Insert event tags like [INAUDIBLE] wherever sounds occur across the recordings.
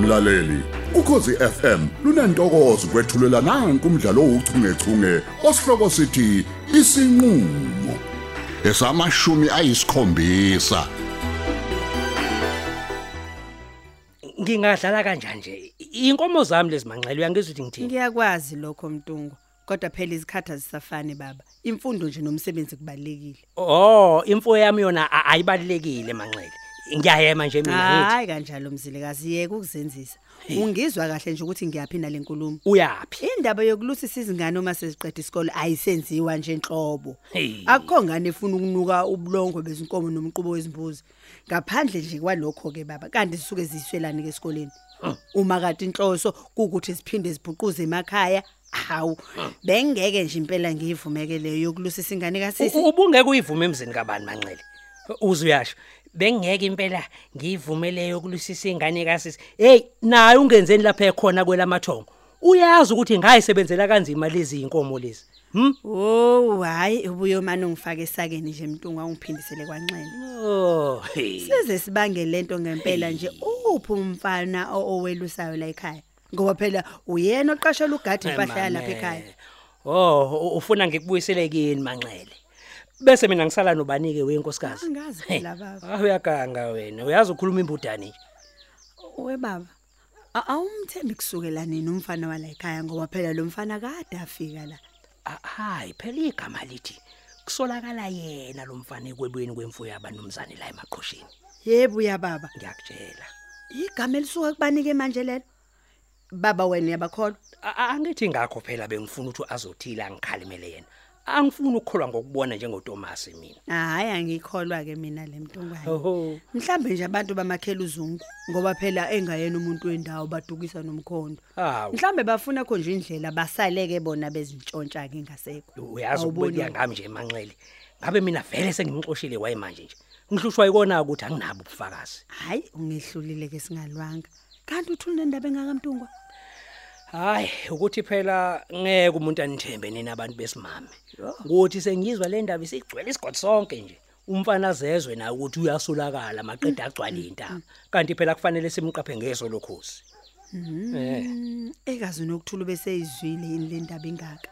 mlaleli ukhosi FM lunantokozo kwethulela nange umdlalo ouchungechunge osihloko sithi isinqulo esamashumi ayisikhombisa ngingadlala kanjani nje inkomo zami lezimanxele uyangizwa ukuthi ngithini Ngiyakwazi lokho mtungu. Kodwa phela izikhathi azisafani baba. Imfundo nje nomsebenzi kubalekile. oh imfuyo yami yona a- ayibalulekile manxele ngiyayema nje mina ngithi Hayi kanjalo mzilikazi yeke ukuzenzisa. Ungizwa kahle nje ukuthi ngiyaphinda lenkulumo. uyaphi Indaba yokuluthisa izingane uma seziqeda isikole ayisenziwa nje enhlobo. Hey. Akukho ngane efuna ukunuka ubulongo bezinkomo nomqubo wezimbuzi. Ngaphandle nje kwalokho ke baba, kanti sisuke ziswelani ke esikoleni. Uma kati inhloso kukuthi siphinde sibhuquze emakhaya. Hawu, bengeke nje impela ngivumeke leyo yokuluthisa ingane kasisi. U- ubungeke uyivume emzini kabani manxele uze uyasho bengeke impela ngiyivumeleyo kulisisa ingane kasisi hey naye ungenzeni lapha ekhona kwelamathongo uyazi ukuthi ngayisebenzela kanzima lezi inkomo lezi hm Oh, hayi ubuye manje ungifake esakeni nje mntungu angiphindisele kwanxele. oh hey Size sibange lento ngempela nje uphi umfana o- owelusayo la ekhaya. Ngoba phela uyena oqashela ugadi impahla lapha ekhaya. Oh, u- ufuna ngikubuyisele kini manxele. Bese mina ngisala nobanike wenkosikazi. Angazi phela baba. Ah uyaganga wena. Uyazi ukukhuluma imbudani nje. We baba. a- Awumthembi kusukela nini umfana wala ekhaya ngoba phela lo mfana kade afika la. Ah, Hayi, phela igama lithi kusolakala yena lo mfana ekwebweni kwemfuyo yabanumzane la emaqhosheni. Yebo ya baba. Ngiyakutshela. Igama elisuka kubanike manje lelo. Baba wena uyabakholwa? A- a- Angithi ngakho phela bengifuna ukuthi azothila ngikhalimele yena. Angifuni ukukholwa ngokubona njengoThomas mina. Hayi angikholwa ke mina lemntungwane. Oho. Mhlambe nje abantu bamakhela uzungu ngoba phela engayena umuntu wendawo badukisa nomkhondo. Hawu. mhlawumbe bafuna khonje indlela basaleke bona bezintshontsha ke ngasekho uyazi Awuboni ukubuya wena? ngami nje emanxele ngabe mina vele sengimxoshile waye manje nje ngihlushwa ikona ukuthi anginabo ubufakazi hayi ungehlulile ke singalwanga kanti uthi unendaba engakamntungwa hayi ukuthi phela ngeke umuntu anithembe nina abantu besimame ukuthi sengizwa le ndaba isigcwele isigodi sonke nje umfana zezwe naye ukuthi uyasolakala maqeda agcwala intaba kanti phela kufanele simqaphe ngeso lokhosi eh Mm, ekazini okuthula bese izwile yini le ndaba engaka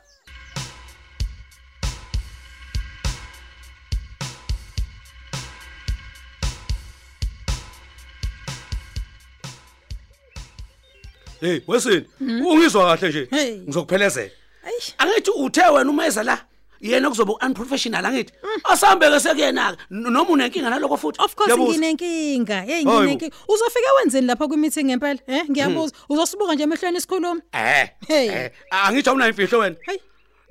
hey wesini ungizwa kahle nje Hey. ngizokuphelezela Eish. angithi uthe wena uma eza la yena kuzoba unprofessional angithi asambe ke sekuyena ke noma unenkinga naloko futhi Mm. Of course Ngiyabuza. nginenkinga. Hey Hayi bo. nginenkinga. Uzofika wenzeni lapha ku meeting ngempela? Eh ngiyabuza. Uzosibuka nje emehlweni isikhulumi. eh Hey. eh, angithi awunayo imfihlo wena Hayi.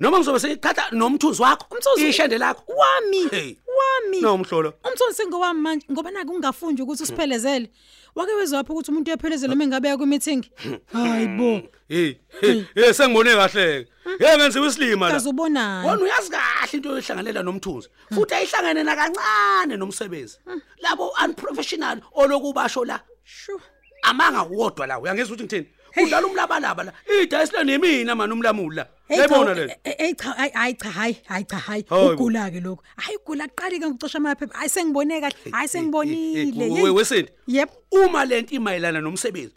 noma ngizobe sengiqhatha nomthunzi wakho Umthunzi- ishende lakho Wami. Hey. Wami. Nomhlolo. Umthunzi singowami manje ngoba naku ungafundi ukuthi usiphelezele. Wake wezwa lapha ukuthi umuntu uyaphelezela uma engabe ya ku meeting. Hayibo. hey hey, hey sengibone kahle ke hey ngenziwe isilima la Kazubonani. wona uyazi kahle into yohlanganela nomthunzi futhi ayihlangene nakancane nomsebenzi labo unprofessional olokubasho la Shu. amanga wodwa la uyangizwa ukuthi ngithini udlala umlabalaba la idayisile nemina mani umlamuli la Hey cha, yayibona le eh, eh, cha hayi hayi cha hayi hayi cha hayi Hayi bo. ugula ke lokho hayi ugula kuqali ke ngicosha amaphepha hayi sengibone kahle hayi sengibonile we- Yeyi. wesindi. yep uma lento imayelana nomsebenzi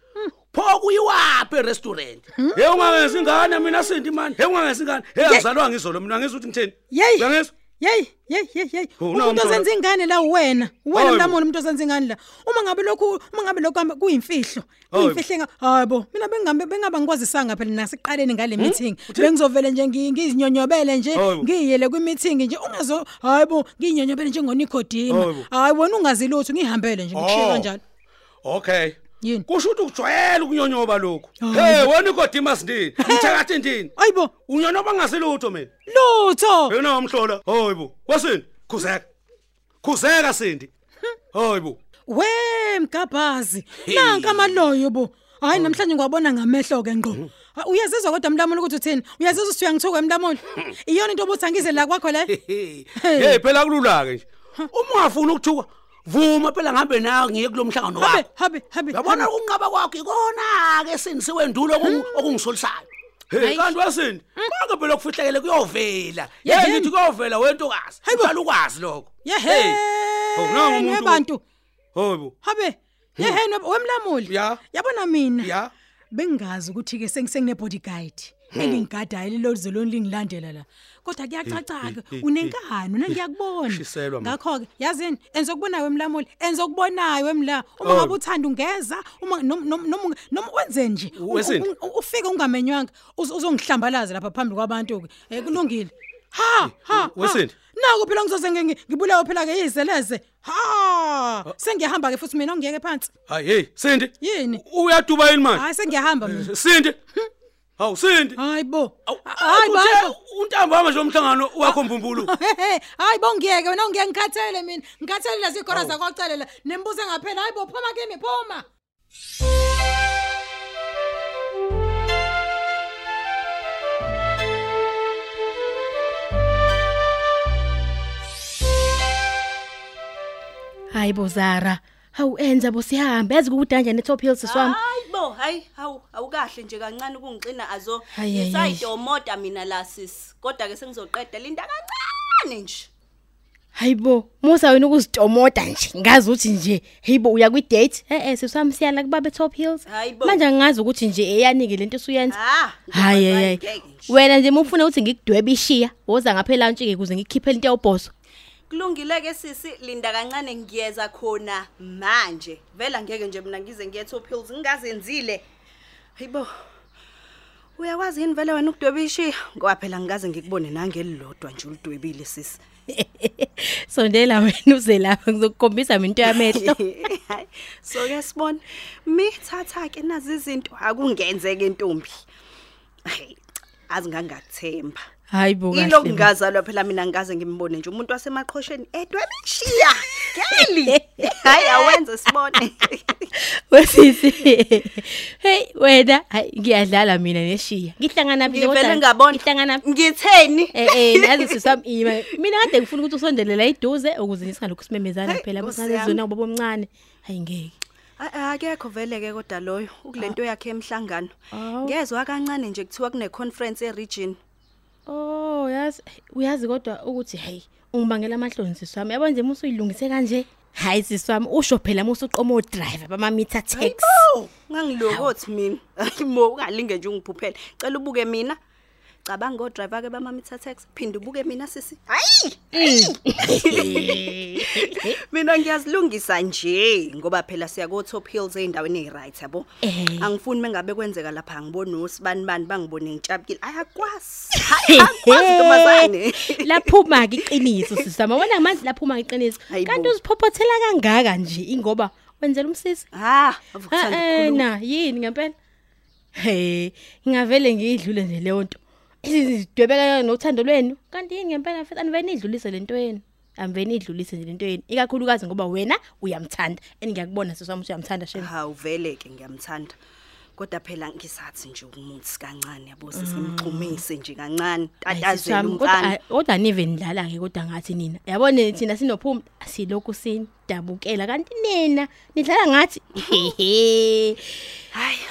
pho kuyiwaphi erestaurant hey ungangenzi ingane mina sindi mani hey ungangenzi ingane hey azalwa ngizolo mina ngizwa ukuthi ngithini Yeyi. uyangizwa Yey, yey, yey, yey. Oh, nawu Umuntu umntwana. osenza ingane la wena. Wena Hayibo. mntamoni umuntu osenza ingane la. Uma ngabe lokhu, uma ngabe lokhu hamba kuyimfihlo. Hayibo. Kuyimfihlenga. Hayibo, mina bengambe bengabe ngikwazisanga phela nasiqaleni Hmm? ngale meeting. Bengizovele nje ngi- ngizinyonyobele nje, Hayibo. ngiyele kwi meeting nje ungazo hayibo, ngiyinyonyobele nje ngonikodima. Hayibo. Hayi wena ungazilutho ngihambele nje ngikushiye Oh. kanjalo. okay Yini? Oh. kusho ukuthi ukujwayela ukunyonyoba lokhu Hayi. hey wena igodima sindini [LAUGHS] ngithakathi ndini Hayibo, unyonyoba ngasilutho mina lutho. yena umhlola hayibo wasini khuzeka khuzeka sindi hayibo We mgabhazi. Nanka amaloyo bo. Hayi namhlanje ngwabona ngamehlo ke ngqo. Ha, Uyazizwa kodwa mntamolo ukuthi uthini? Uyazizwa ukuthi uyangithuka mntamolo? Iyona into obuthi angize la kwakho le? hey phela kulula ke nje uma ungafuna ukuthuka vuma phela ngabe nawe ngiye kulomhlangano Habe, wakho habe, habe. yabona ukunqaba kwakho ikona ke sindisiwe ndulo okungi- okungisolisayo hey Hmm? kanti wasini Hmm? konke phela kufihlekele kuyovela Yehhe. hey ngithi kuyovela wentokazi uqala ukwazi lokho Yehe. Hey. Oh, nangu umuntu. Abantu. hayibo Habe. yeheni wemlamuli Ya. yabona mina Ya. Hmm. bengazi ukuthi-ke sengisenginebodyguide elingigadayo lelozoloni lingilandela la kodwa kuyacaca-ke unenkani una Shiselwa, ngiyakubona ma. ngakho-ke yazini enzokubonayo wemlamuli enzokubonayo wemla uma Oh. ngabe uthanda ungeza uma nom- nom- nom- noma wenze nje u- Wesini? u- u- ufike ungamenywanga uz- uzongihlambalaze lapha phambi kwabantu-ke um kulungile ha ha Wesini? ha. nako phela ngizoze ngi- ngi- ngibulawe phela-ke yizeleze ha sengiyahamba-ke futhi mina ongiyeke phansi hayi hey sindi Yini? U- uyaduba yini manje hayi sengiyahamba mina sindi hawu sindi hayi bo hayi hayi bo hayi bo. untambama nje omhlangano wakho mbumbulu Hehe, hayi bo ngiyeke wena ungiyeke ngikhathele mina ngikhathele lezi gora zakocelela nemibuzo engaphela hayi bo phuma kimi phuma hayi bo zara hawu enza bo sihambe yazi kukudanjani etop hill siswami hayi bo hayi hawu awukahle nje kancane ukungixina azo Hayi, hayi, hayi. ngisayidomoda mina la sisi kodwa-ke sengizoqeda linda kancane nje hayi bo musa wena ukuzitomoda nje ngazi ukuthi nje heyi bo uya kwi-date e-e siswami siyala kubaba etop hills Hayi bo. manje angazi ukuthi nje eyanike le nto usuyenza Ah, hayi ngiyakwazi, hayi ngeke hayi nje. wena nje mufuna ukuthi ngikudwebe ishiya woza ngaphela-ntshike kuze ngikukhiphele into yawubhoso kulungile-ke sisi linda kancane ngiyeza khona manje vela ngeke nje mina ngize ngiye-top hills ngingazenzile hayi bo uyakwazi yini vele wena ukudweba ishiya ngoba phela ngikaze ngikubone nangelilodwa nje ulidwebile sisi sondela wena uze lapha ngizokukhombisa mina into [LAUGHS] yamehlo [LAUGHS] Hayi, so-ke sibone mithatha-ke nazi izinto akungenzeke ntombi Hhayi, azi ngangakuthemba hayi bo yilo kahle bo. kungazalwa phela mina ngikaze ngimbone nje umuntu wasemaqhosheni edwebeshiya keli hayi awenze sibone wesisi heyi wena hayi ngiyadlala mina neshiya ngihlangana phi nje, ngivele kodwa ngabona ngihlangana ngitheni Eh eh nazi sisami ima. Mina kade ngifuna ukuthi usondele la iduze ukuze nisingalokhu simemezana Hey, phela Nkosi basingaze yami. zona ubaba omncane. Hayi ngeke. A- akekho vele-ke kodwa loyo ukulento Ah. yakhe emhlangano Awu. ngezwa kancane nje kuthiwa kune-conference eregion Oh yazi uyazi kodwa ukuthi hey ungibangela amahloni sisami. Yabo nje musu uyilungise kanje. Hayi sisami usho phela musu uqoma udriver bama meter tax. Oh, ungangilokothi mina. [LAUGHS] Hayi mo ungalinge nje ungiphuphele. Cela ubuke mina. Cabanga ngodriver ke bama Mitatex, phinda ubuke mina sisi. Hayi. [LAUGHS] Mina ngiyazilungisa nje ngoba phela siya ko Top Hills eindaweni eziright yabo. Eh. Angifuni mengabe kwenzeka lapha ngibona osibani bani bangibone ngitshapukile. [LAUGHS] Ayakwazi. Hayi, Ayakwazi ntombazane. [LAUGHS] Laphuma ke iqiniso sisami. Wona manje laphuma ke iqiniso. Hayi bo. Kanti uziphopothela kangaka nje ingoba wenzela umsisi. Ha, avukuthanda Eh, eh, ukukhuluma. na yini ngempela he ngingavele ngiyidlule nje leyo nto izidwebeka nothando lwenu kanti yini ngempela futhi aniveni idlulise lento yenu aniveni idlulise nje lento yenu ikakhulukazi ngoba wena uyamthanda and ngiyakubona sesami ukuthi uyamthanda shem hawu vele ke ngiyamthanda kodwa phela ngisathi nje ukumuthi kancane yabo sisimxhumise nje kancane tatazela umntana Mm. kodwa nive nidlala-ke kodwa ngathi nina yabona thina sinophumla silokhu sidabukela kanti nina nidlala ngathi hehe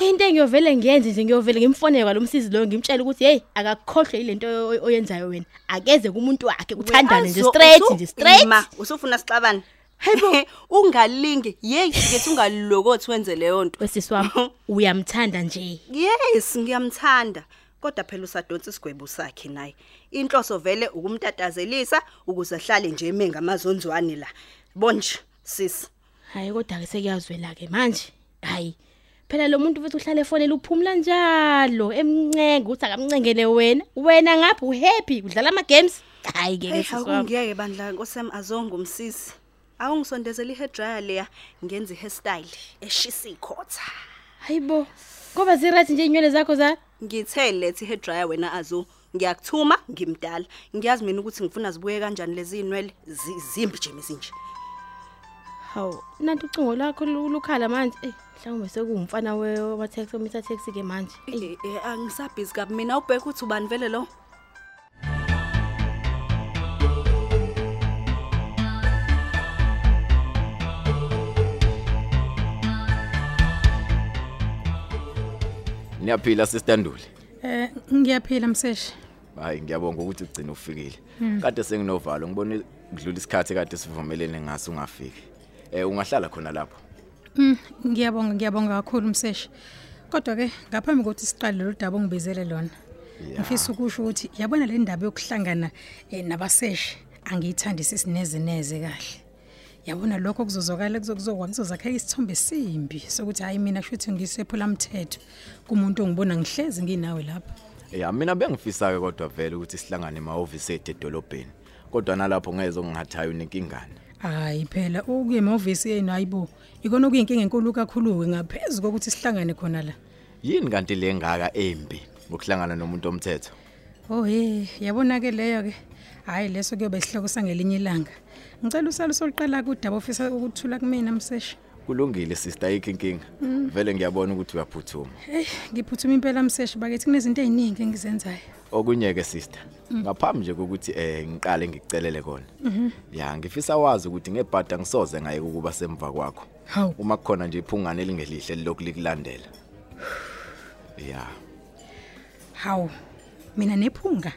into engiyovele ngiyenze nje ngiyovele ngimfonele kwalo msizi loyo ngimtshele ukuthi heyi akakhohlwe yile nto oy- oyenzayo wena akeze kumuntu wakhe kuthandane nje Uyazo, straight usu- nje straight ima, usufuna sixabane hayibo [LAUGHS] ungalingi yeyi ngithi ungalilokothi wenze leyo nto wesisi wami uyamthanda nje yes ngiyamthanda kodwa phela usadonsa isigwebo sakhe naye inhloso vele ukumtatazelisa ukuze ahlale nje eme ngamazonzwane la bonje sisi hhayi kodwa-ke sekuyazwela-ke manje hhayi phela lo muntu futhi uhlale efonele uphumula njalo emncenga ukuthi akamncengele wena wena ngaphi uhappy udlala ama-games hhayi-ke Hey, sisi wami awungiyeke bandla nkosem azonge umsisi. Awungisondezeli i-hair dryer leya ngenza i-hairstyle eshisa ikhotha. hayi bo ngoba zi-right nje iy'nywele zakho zala Ngithe lethe i-hair dryer wena azo. Ngiyakuthuma ngimdala. Ngiyazi mina ukuthi ngifuna zibuye kanjani lezi inwele zi- zimbi nje mesinje. hawu nanti ucingo lwakho lu- lukhala manje eyi mhlawumbe sekuwumfana wamateksi omithateksi-ke manje Eyi, eh, Angisabhizi kabi mina ubheka ukuthi ubani vele lo. niyaphila sisitandule um ngiyaphila mseshi hayi ngiyabonga ukuthi ugcina ufikile kade senginovalo ngibone kudlula isikhathi kade sivumelene ngaso ungafiki um ungahlala Eh, khona lapho Mm, ngiyabonga ngiyabonga kakhulu mseshi kodwa-ke ngaphambi kokuthi siqale lolu daba ongibizele lona ngifisa ukusho ukuthi yabona le ndaba yokuhlangana um nabaseshi angiyithandisisi neze neze kahle yabona lokho kuzozwakala kuzokuzokwa kuzozakheka isithombe simbi sokuthi hhayi mina kusho ukuthi ngisephula mthetho kumuntu ongibona ngihlezi nginawe lapha ya mina bengifisa-ke kodwa vele ukuthi sihlangane emahhovisi ethu edolobheni kodwa nalapho ngeze ongingathayo nenkingane hayi phela ukuye emahhovisi yenu hayi bo ikona okuyinkinga enkulu kakhulu-ke ngaphezu kokuthi sihlangane khona la yini kanti le ngaka embi ngokuhlangana nomuntu omthetho ohe yabona-ke leyo-ke hhayi leso kuyobe isihloko sangelinye ilanga ngicela usalo soluqala-ke udaba ofisa ukuthula kumina mseshi kulungile sister ayikho inkinga vele ngiyabona ukuthi uyaphuthuma eyi ngiphuthuma impela mseshi bakithi kunezinto ey'ningi engizenzayo okunye-ke sister ngaphambi nje kokuthi um ngiqale ngikucelele kona ya ngifisa wazi ukuthi ngebhada ngisoze ngayeke ukuba semva kwakho hawu uma kukhona nje iphungane elingelihle elilokhu likulandela ya hawu mina nephunga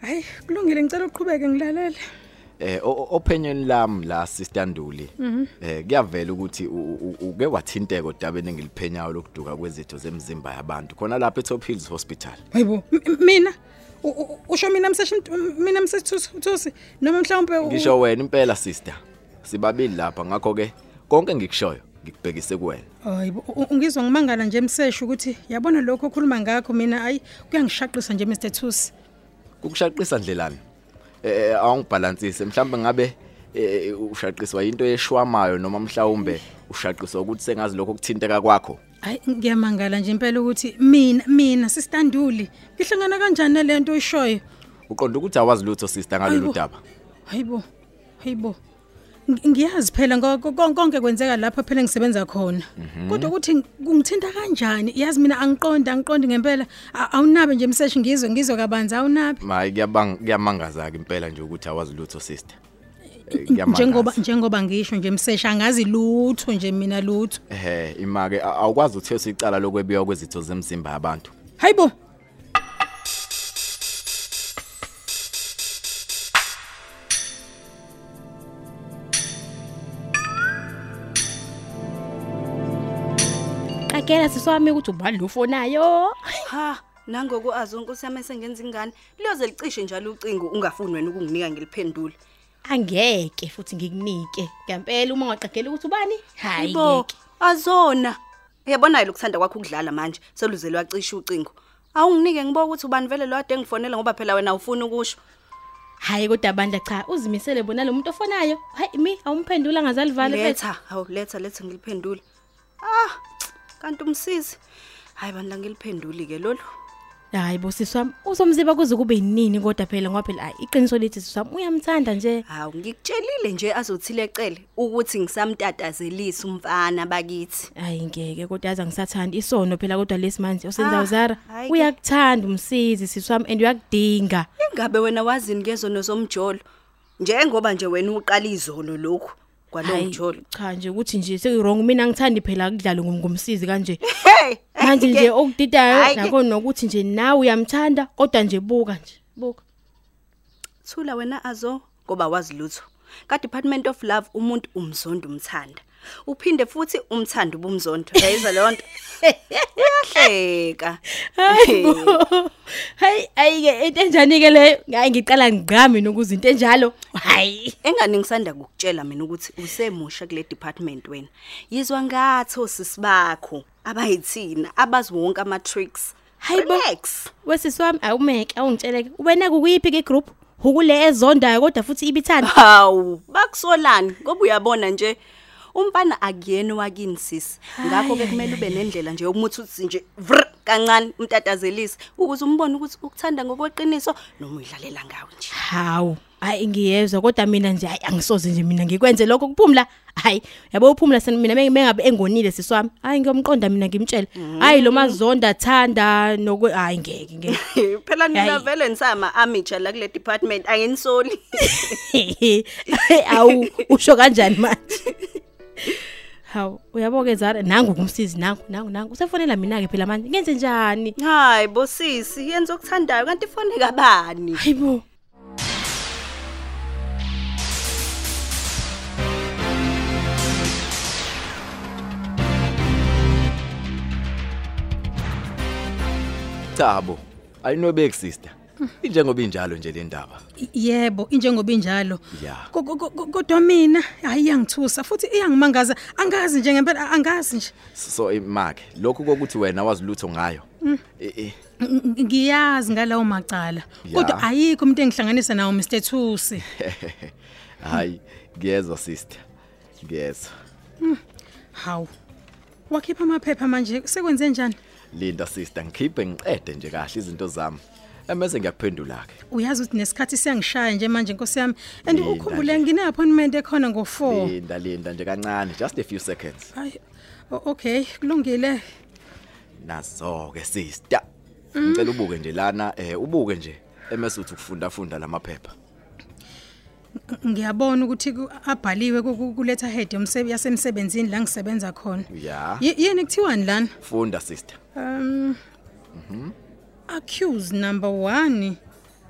hhayi kulungile ngicela uqhubeke ngilalele eh o- o- ophenyweni lami la sistanduli eh kuyavela ukuthi u- u- u- uke wathinteka odabeni engiliphenyayo lokuduka kwezitho zemizimba yabantu khona lapha eTop Hills Hospital hayi bo m- m- mina U- u- usho mina mseshi Mtu- mina mseshi Thusi- thusi noma mhlawumpe u- ngisho wena impela sister sibabili lapha ngakho ke konke ngikushoyo ngikubhekise kuwena hayi bo, u- u- ngizwa ngimangala nje mseshi ukuthi yabona lokho okhuluma ngakho mina hayi kuyangishaqisa nje mr thusi kukushaqisa ndlelani eh awungibhalansise mhlawumbe ngabe eh, ushaqiswa into yeshwamayo noma mhlawumbe ushaqiswa ukuthi sengazi lokho kuthinteka kwakho hayi ngiyamangala nje impela ukuthi mina mina sistanduli ngihlangana kanjani nale nto oyishoyo uqonda ukuthi awazi lutho sister ngalolu Ayibo. daba hayi bo hayi bo Ngi- ngiyazi phela ngo- ko- ko- konke kwenzeka lapho phela engisebenza khona kodwa ukuthi ng- kungithinta kanjani yazi mina angiqondi angiqondi ngempela A- awunabe nje mseshi ngizwe ngizwe kabanzi awunabe hayi kuyabang- kuyamangaza-ke impela nje ukuthi awazi lutho sister Eh, kuyamangaza. njengoba njengoba ngisho nje mseshi angazi lutho nje mina lutho ehe ima-ke a- awukwazi ukuthetha icala lokwebiwa kwezitho zemzimba yabantu hayi bo qagela siswami ukuthi ubani lofonayo ha nangoku azi wonke usiyami esengenza ingane liyoze licishe njalo ucingo ungafuni wena ukunginika ngiliphendule angeke futhi ngikunike ngempela uma ngaqagela ukuthi ubani hayi Yibo, ngeke azona uyabona-ke lokuthanda kwakho ukudlala manje seluze lwacisha ucingo awunginike ngibo ukuthi ubani vele lwade engifonele ngoba phela wena awufuni ukusho hayi kodwa abandla cha uzimisele bona lo muntu ofonayo hayi mi awumphendula ngazalivale letha hawu letha letha ngiliphendule ah kanti umsizi hayi bandla ngiliphenduli-ke lolu hayi bosisi wami uzomziba kuze kube yinini kodwa phela ngoba phela hayi iqiniso lithi sisi wami uyamthanda nje hawu ngikutshelile nje azothile cele ukuthi ngisamtatazelisa umfana bakithi hayi ngeke kodwa yazi angisathandi isono phela kodwa lesi manje osenzayo Ah, zara hhayi-ke. uyakuthanda umsizi sisi wami and uyakudinga ingabe wena wazini ngezono zomjolo njengoba nje wena uqala izolo lokhu Hhayi, kwalomjolo cha nje ukuthi nje sekuyirong mina angithandi phela kudlale ngumsizi [LAUGHS] kanje hey manje nje okudidayo Hhayi-ke. nakho nokuthi nje nawe uyamthanda kodwa nje buka nje buka thula wena azo ngoba wazi lutho ka-department of love umuntu umzondo umthanda uphinde futhi umthanda ubumzondo yayiza leyo nto uyahleka hayi bo. hayi ayike into enjani-ke leyo hayi ngiqala ngigqame nokuzinto enjalo hayi engani ngisanda kukutshela mina ukuthi usemusha kule department wena yizwa ngathi osisi bakho abayithina abazi wonke ama-tricks Hayi bo. Relax. wesisi wami awumeke awungitsheleke ubenake ukuyiphi-ke igroup ukule ezondayo kodwa futhi ibithanda hawu bakusolani ngoba uyabona nje umfana akuyena wakini sisi ngakho-ke kumele ube nendlela nje yokuthi uthi nje vr kancane umtatazelise ukuze umbone ukuthi ukuthanda ngokweqiniso noma uyidlalela ngawo nje hawu hayi ngiyezwa kodwa mina nje hayi angisoze nje mina ngikwenze lokho kuphumla hayi yabo uphumla sen- mina mengabe engonile sisi wami hayi ngiyomqonda mina ngimtshele hayi lo mazonda thanda noku hayi ngeke ngeke phela nina Hhayi. vele nisama-amitsha la kule department angenisoli [LAUGHS] awu usho kanjani manje hawu uyabo-ke zara nangu kumsizi nangu nangu nangu usefonela mina-ke phela manje ngenze njani hhayi bosisi yenza okuthandayo kanti ifoneka bani hayi bo Tabo ayinobeki sister. Injengoba injalo nje le ndaba. I- Yebo, injengoba injalo. Yeah. Ko- ko- ko- Kodwa mina hayi iyangithusa futhi iyangimangaza. Angazi nje ngempela angazi nje. So imake lokhu kokuthi wena wazilutho ngayo. Mm. Eh eh. Ng- ng- Ngiyazi ngalawo macala. Yeah. Kodwa ayikho umuntu engihlanganisa nawo Mr Thusi. [LAUGHS] Hayi ngiyezwa sister. Ngiyezwa. Hawu. Wakhipha amaphepha manje sekwenze njani? Linda sister ngikhiphe ngiqede nje kahle izinto zami. Emese ngiyakuphendula ke. Uyazi ukuthi nesikhathi siyangishaya nje manje Nkosi yami. And Linda ukhumbule nje. ngine appointment ekhona ngo4. Linda linda nje kancane just a few seconds. Hayi. o- Okay, kulungile. Nazo ke sister. Ngicela ubuke nje lana eh ubuke nje emese uthi ukufunda funda lamaphepha. Ngiyabona ukuthi ku- abhaliwe ku- ku- kuletha head yomsebenzi yasemsebenzini la ngisebenza khona. Yeah. Ye- Yini kuthiwani lana? Funda sister. Um accuse number 1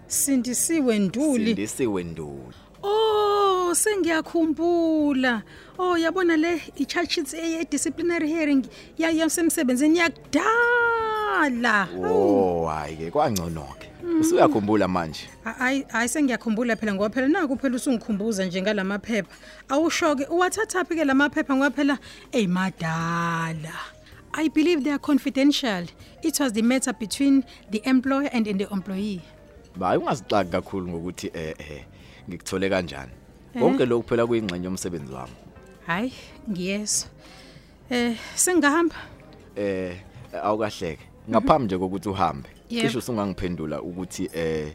Sindisiwe Nduli. Sindisiwe nduli. Oh, sengiyakhumbula. Oh, yabona le i-charges eye disciplinary hearing yayasemsebenzini yakudala. Oh hayi ke kwangcono ke. Usuyakhumbula manje. Hayi hayi sengiyakhumbula phela ngoba phela naku phela usungikhumbuza nje ngalamaphepha. Awushoke uwathathaphi ke lamaphepha ngoba phela eyimadala. I believe they are confidential. It was the matter between the employer and the employee. Bayi ungazixaki kakhulu ngokuthi eh eh ngikuthole kanjani. Konke lokhu phela kuyingxenye yomsebenzi wami. Hayi, ngiyezwa. Eh sengihamba. Eh awukahleke. Ngaphambi nje kokuthi uhambe. Yebo. Cishe usungangiphendula ukuthi eh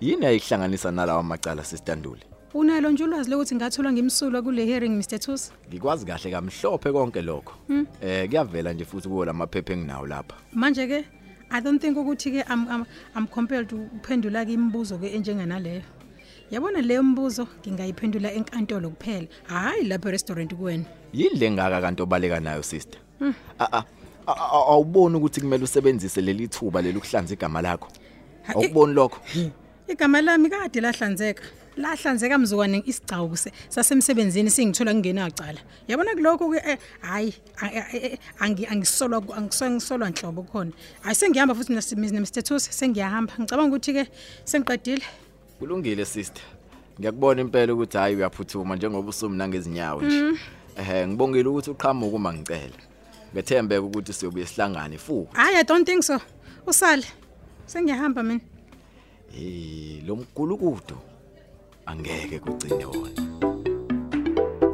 yini ayihlanganisa nalawa macala sisitandule. Unalo nje ulwazi lokuthi ngathola ngimsulwa kule hearing Mr Thusi. Ngikwazi kahle kamhlophe konke lokho. Eh kuyavela nje futhi kuwo lamaphepha enginawo lapha. Manje ke I don't think ukuthi ke I'm, I'm I'm compelled uphendula ke imibuzo ke enjenganaleyo. Yabona leyo mbuzo ngingayiphendula enkantolo kuphela. Hayi lapha restaurant kuwena. Yini lengaka kanti obaleka nayo sister? A a- a- a- awuboni ukuthi kumele usebenzise leli thuba lelukuhlanza igama lakho. Ha, eh. Awuboni lokho? Igama lami kade lahlanzeka. Lahlanzeka mzukwane isigcawu se- sasemsebenzini singithola kungenacala. Yabona kuloko ke eh, hayi a- a- eh, angi angisolwa ku- angisolwa ngisolwa nhlobo khona. Hayi sengihamba futhi mina Mr Mr Thusi sengiyahamba. Ngicabanga ukuthi ke sengiqedile. Kulungile sister. Ngiyakubona impela ukuthi hayi uyaphuthuma njengoba usumna ngezinyawo nje. Eh ngibongile ukuthi uqhamuke uma ngicela. Ngethembe ukuthi siyobuye sihlangane futhi. Hayi I don't think so. Usale. Sengiyahamba mina. Eh lo mgulukudu angeke kucinde wona.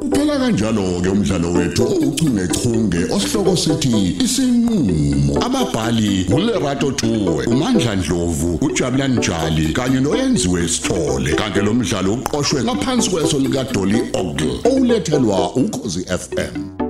Uphela kanjalo ke umdlalo wethu ouchungechunge osihloko sithi isinqulo ababhali uLerato Tuwe uMandla Dlovu uJabulani Njali kanye noyenziwe Sithole kanti lo mdlalo uqoqwwe ngaphansi kweso lika Dolly Ogle olethelwa ukhosi FM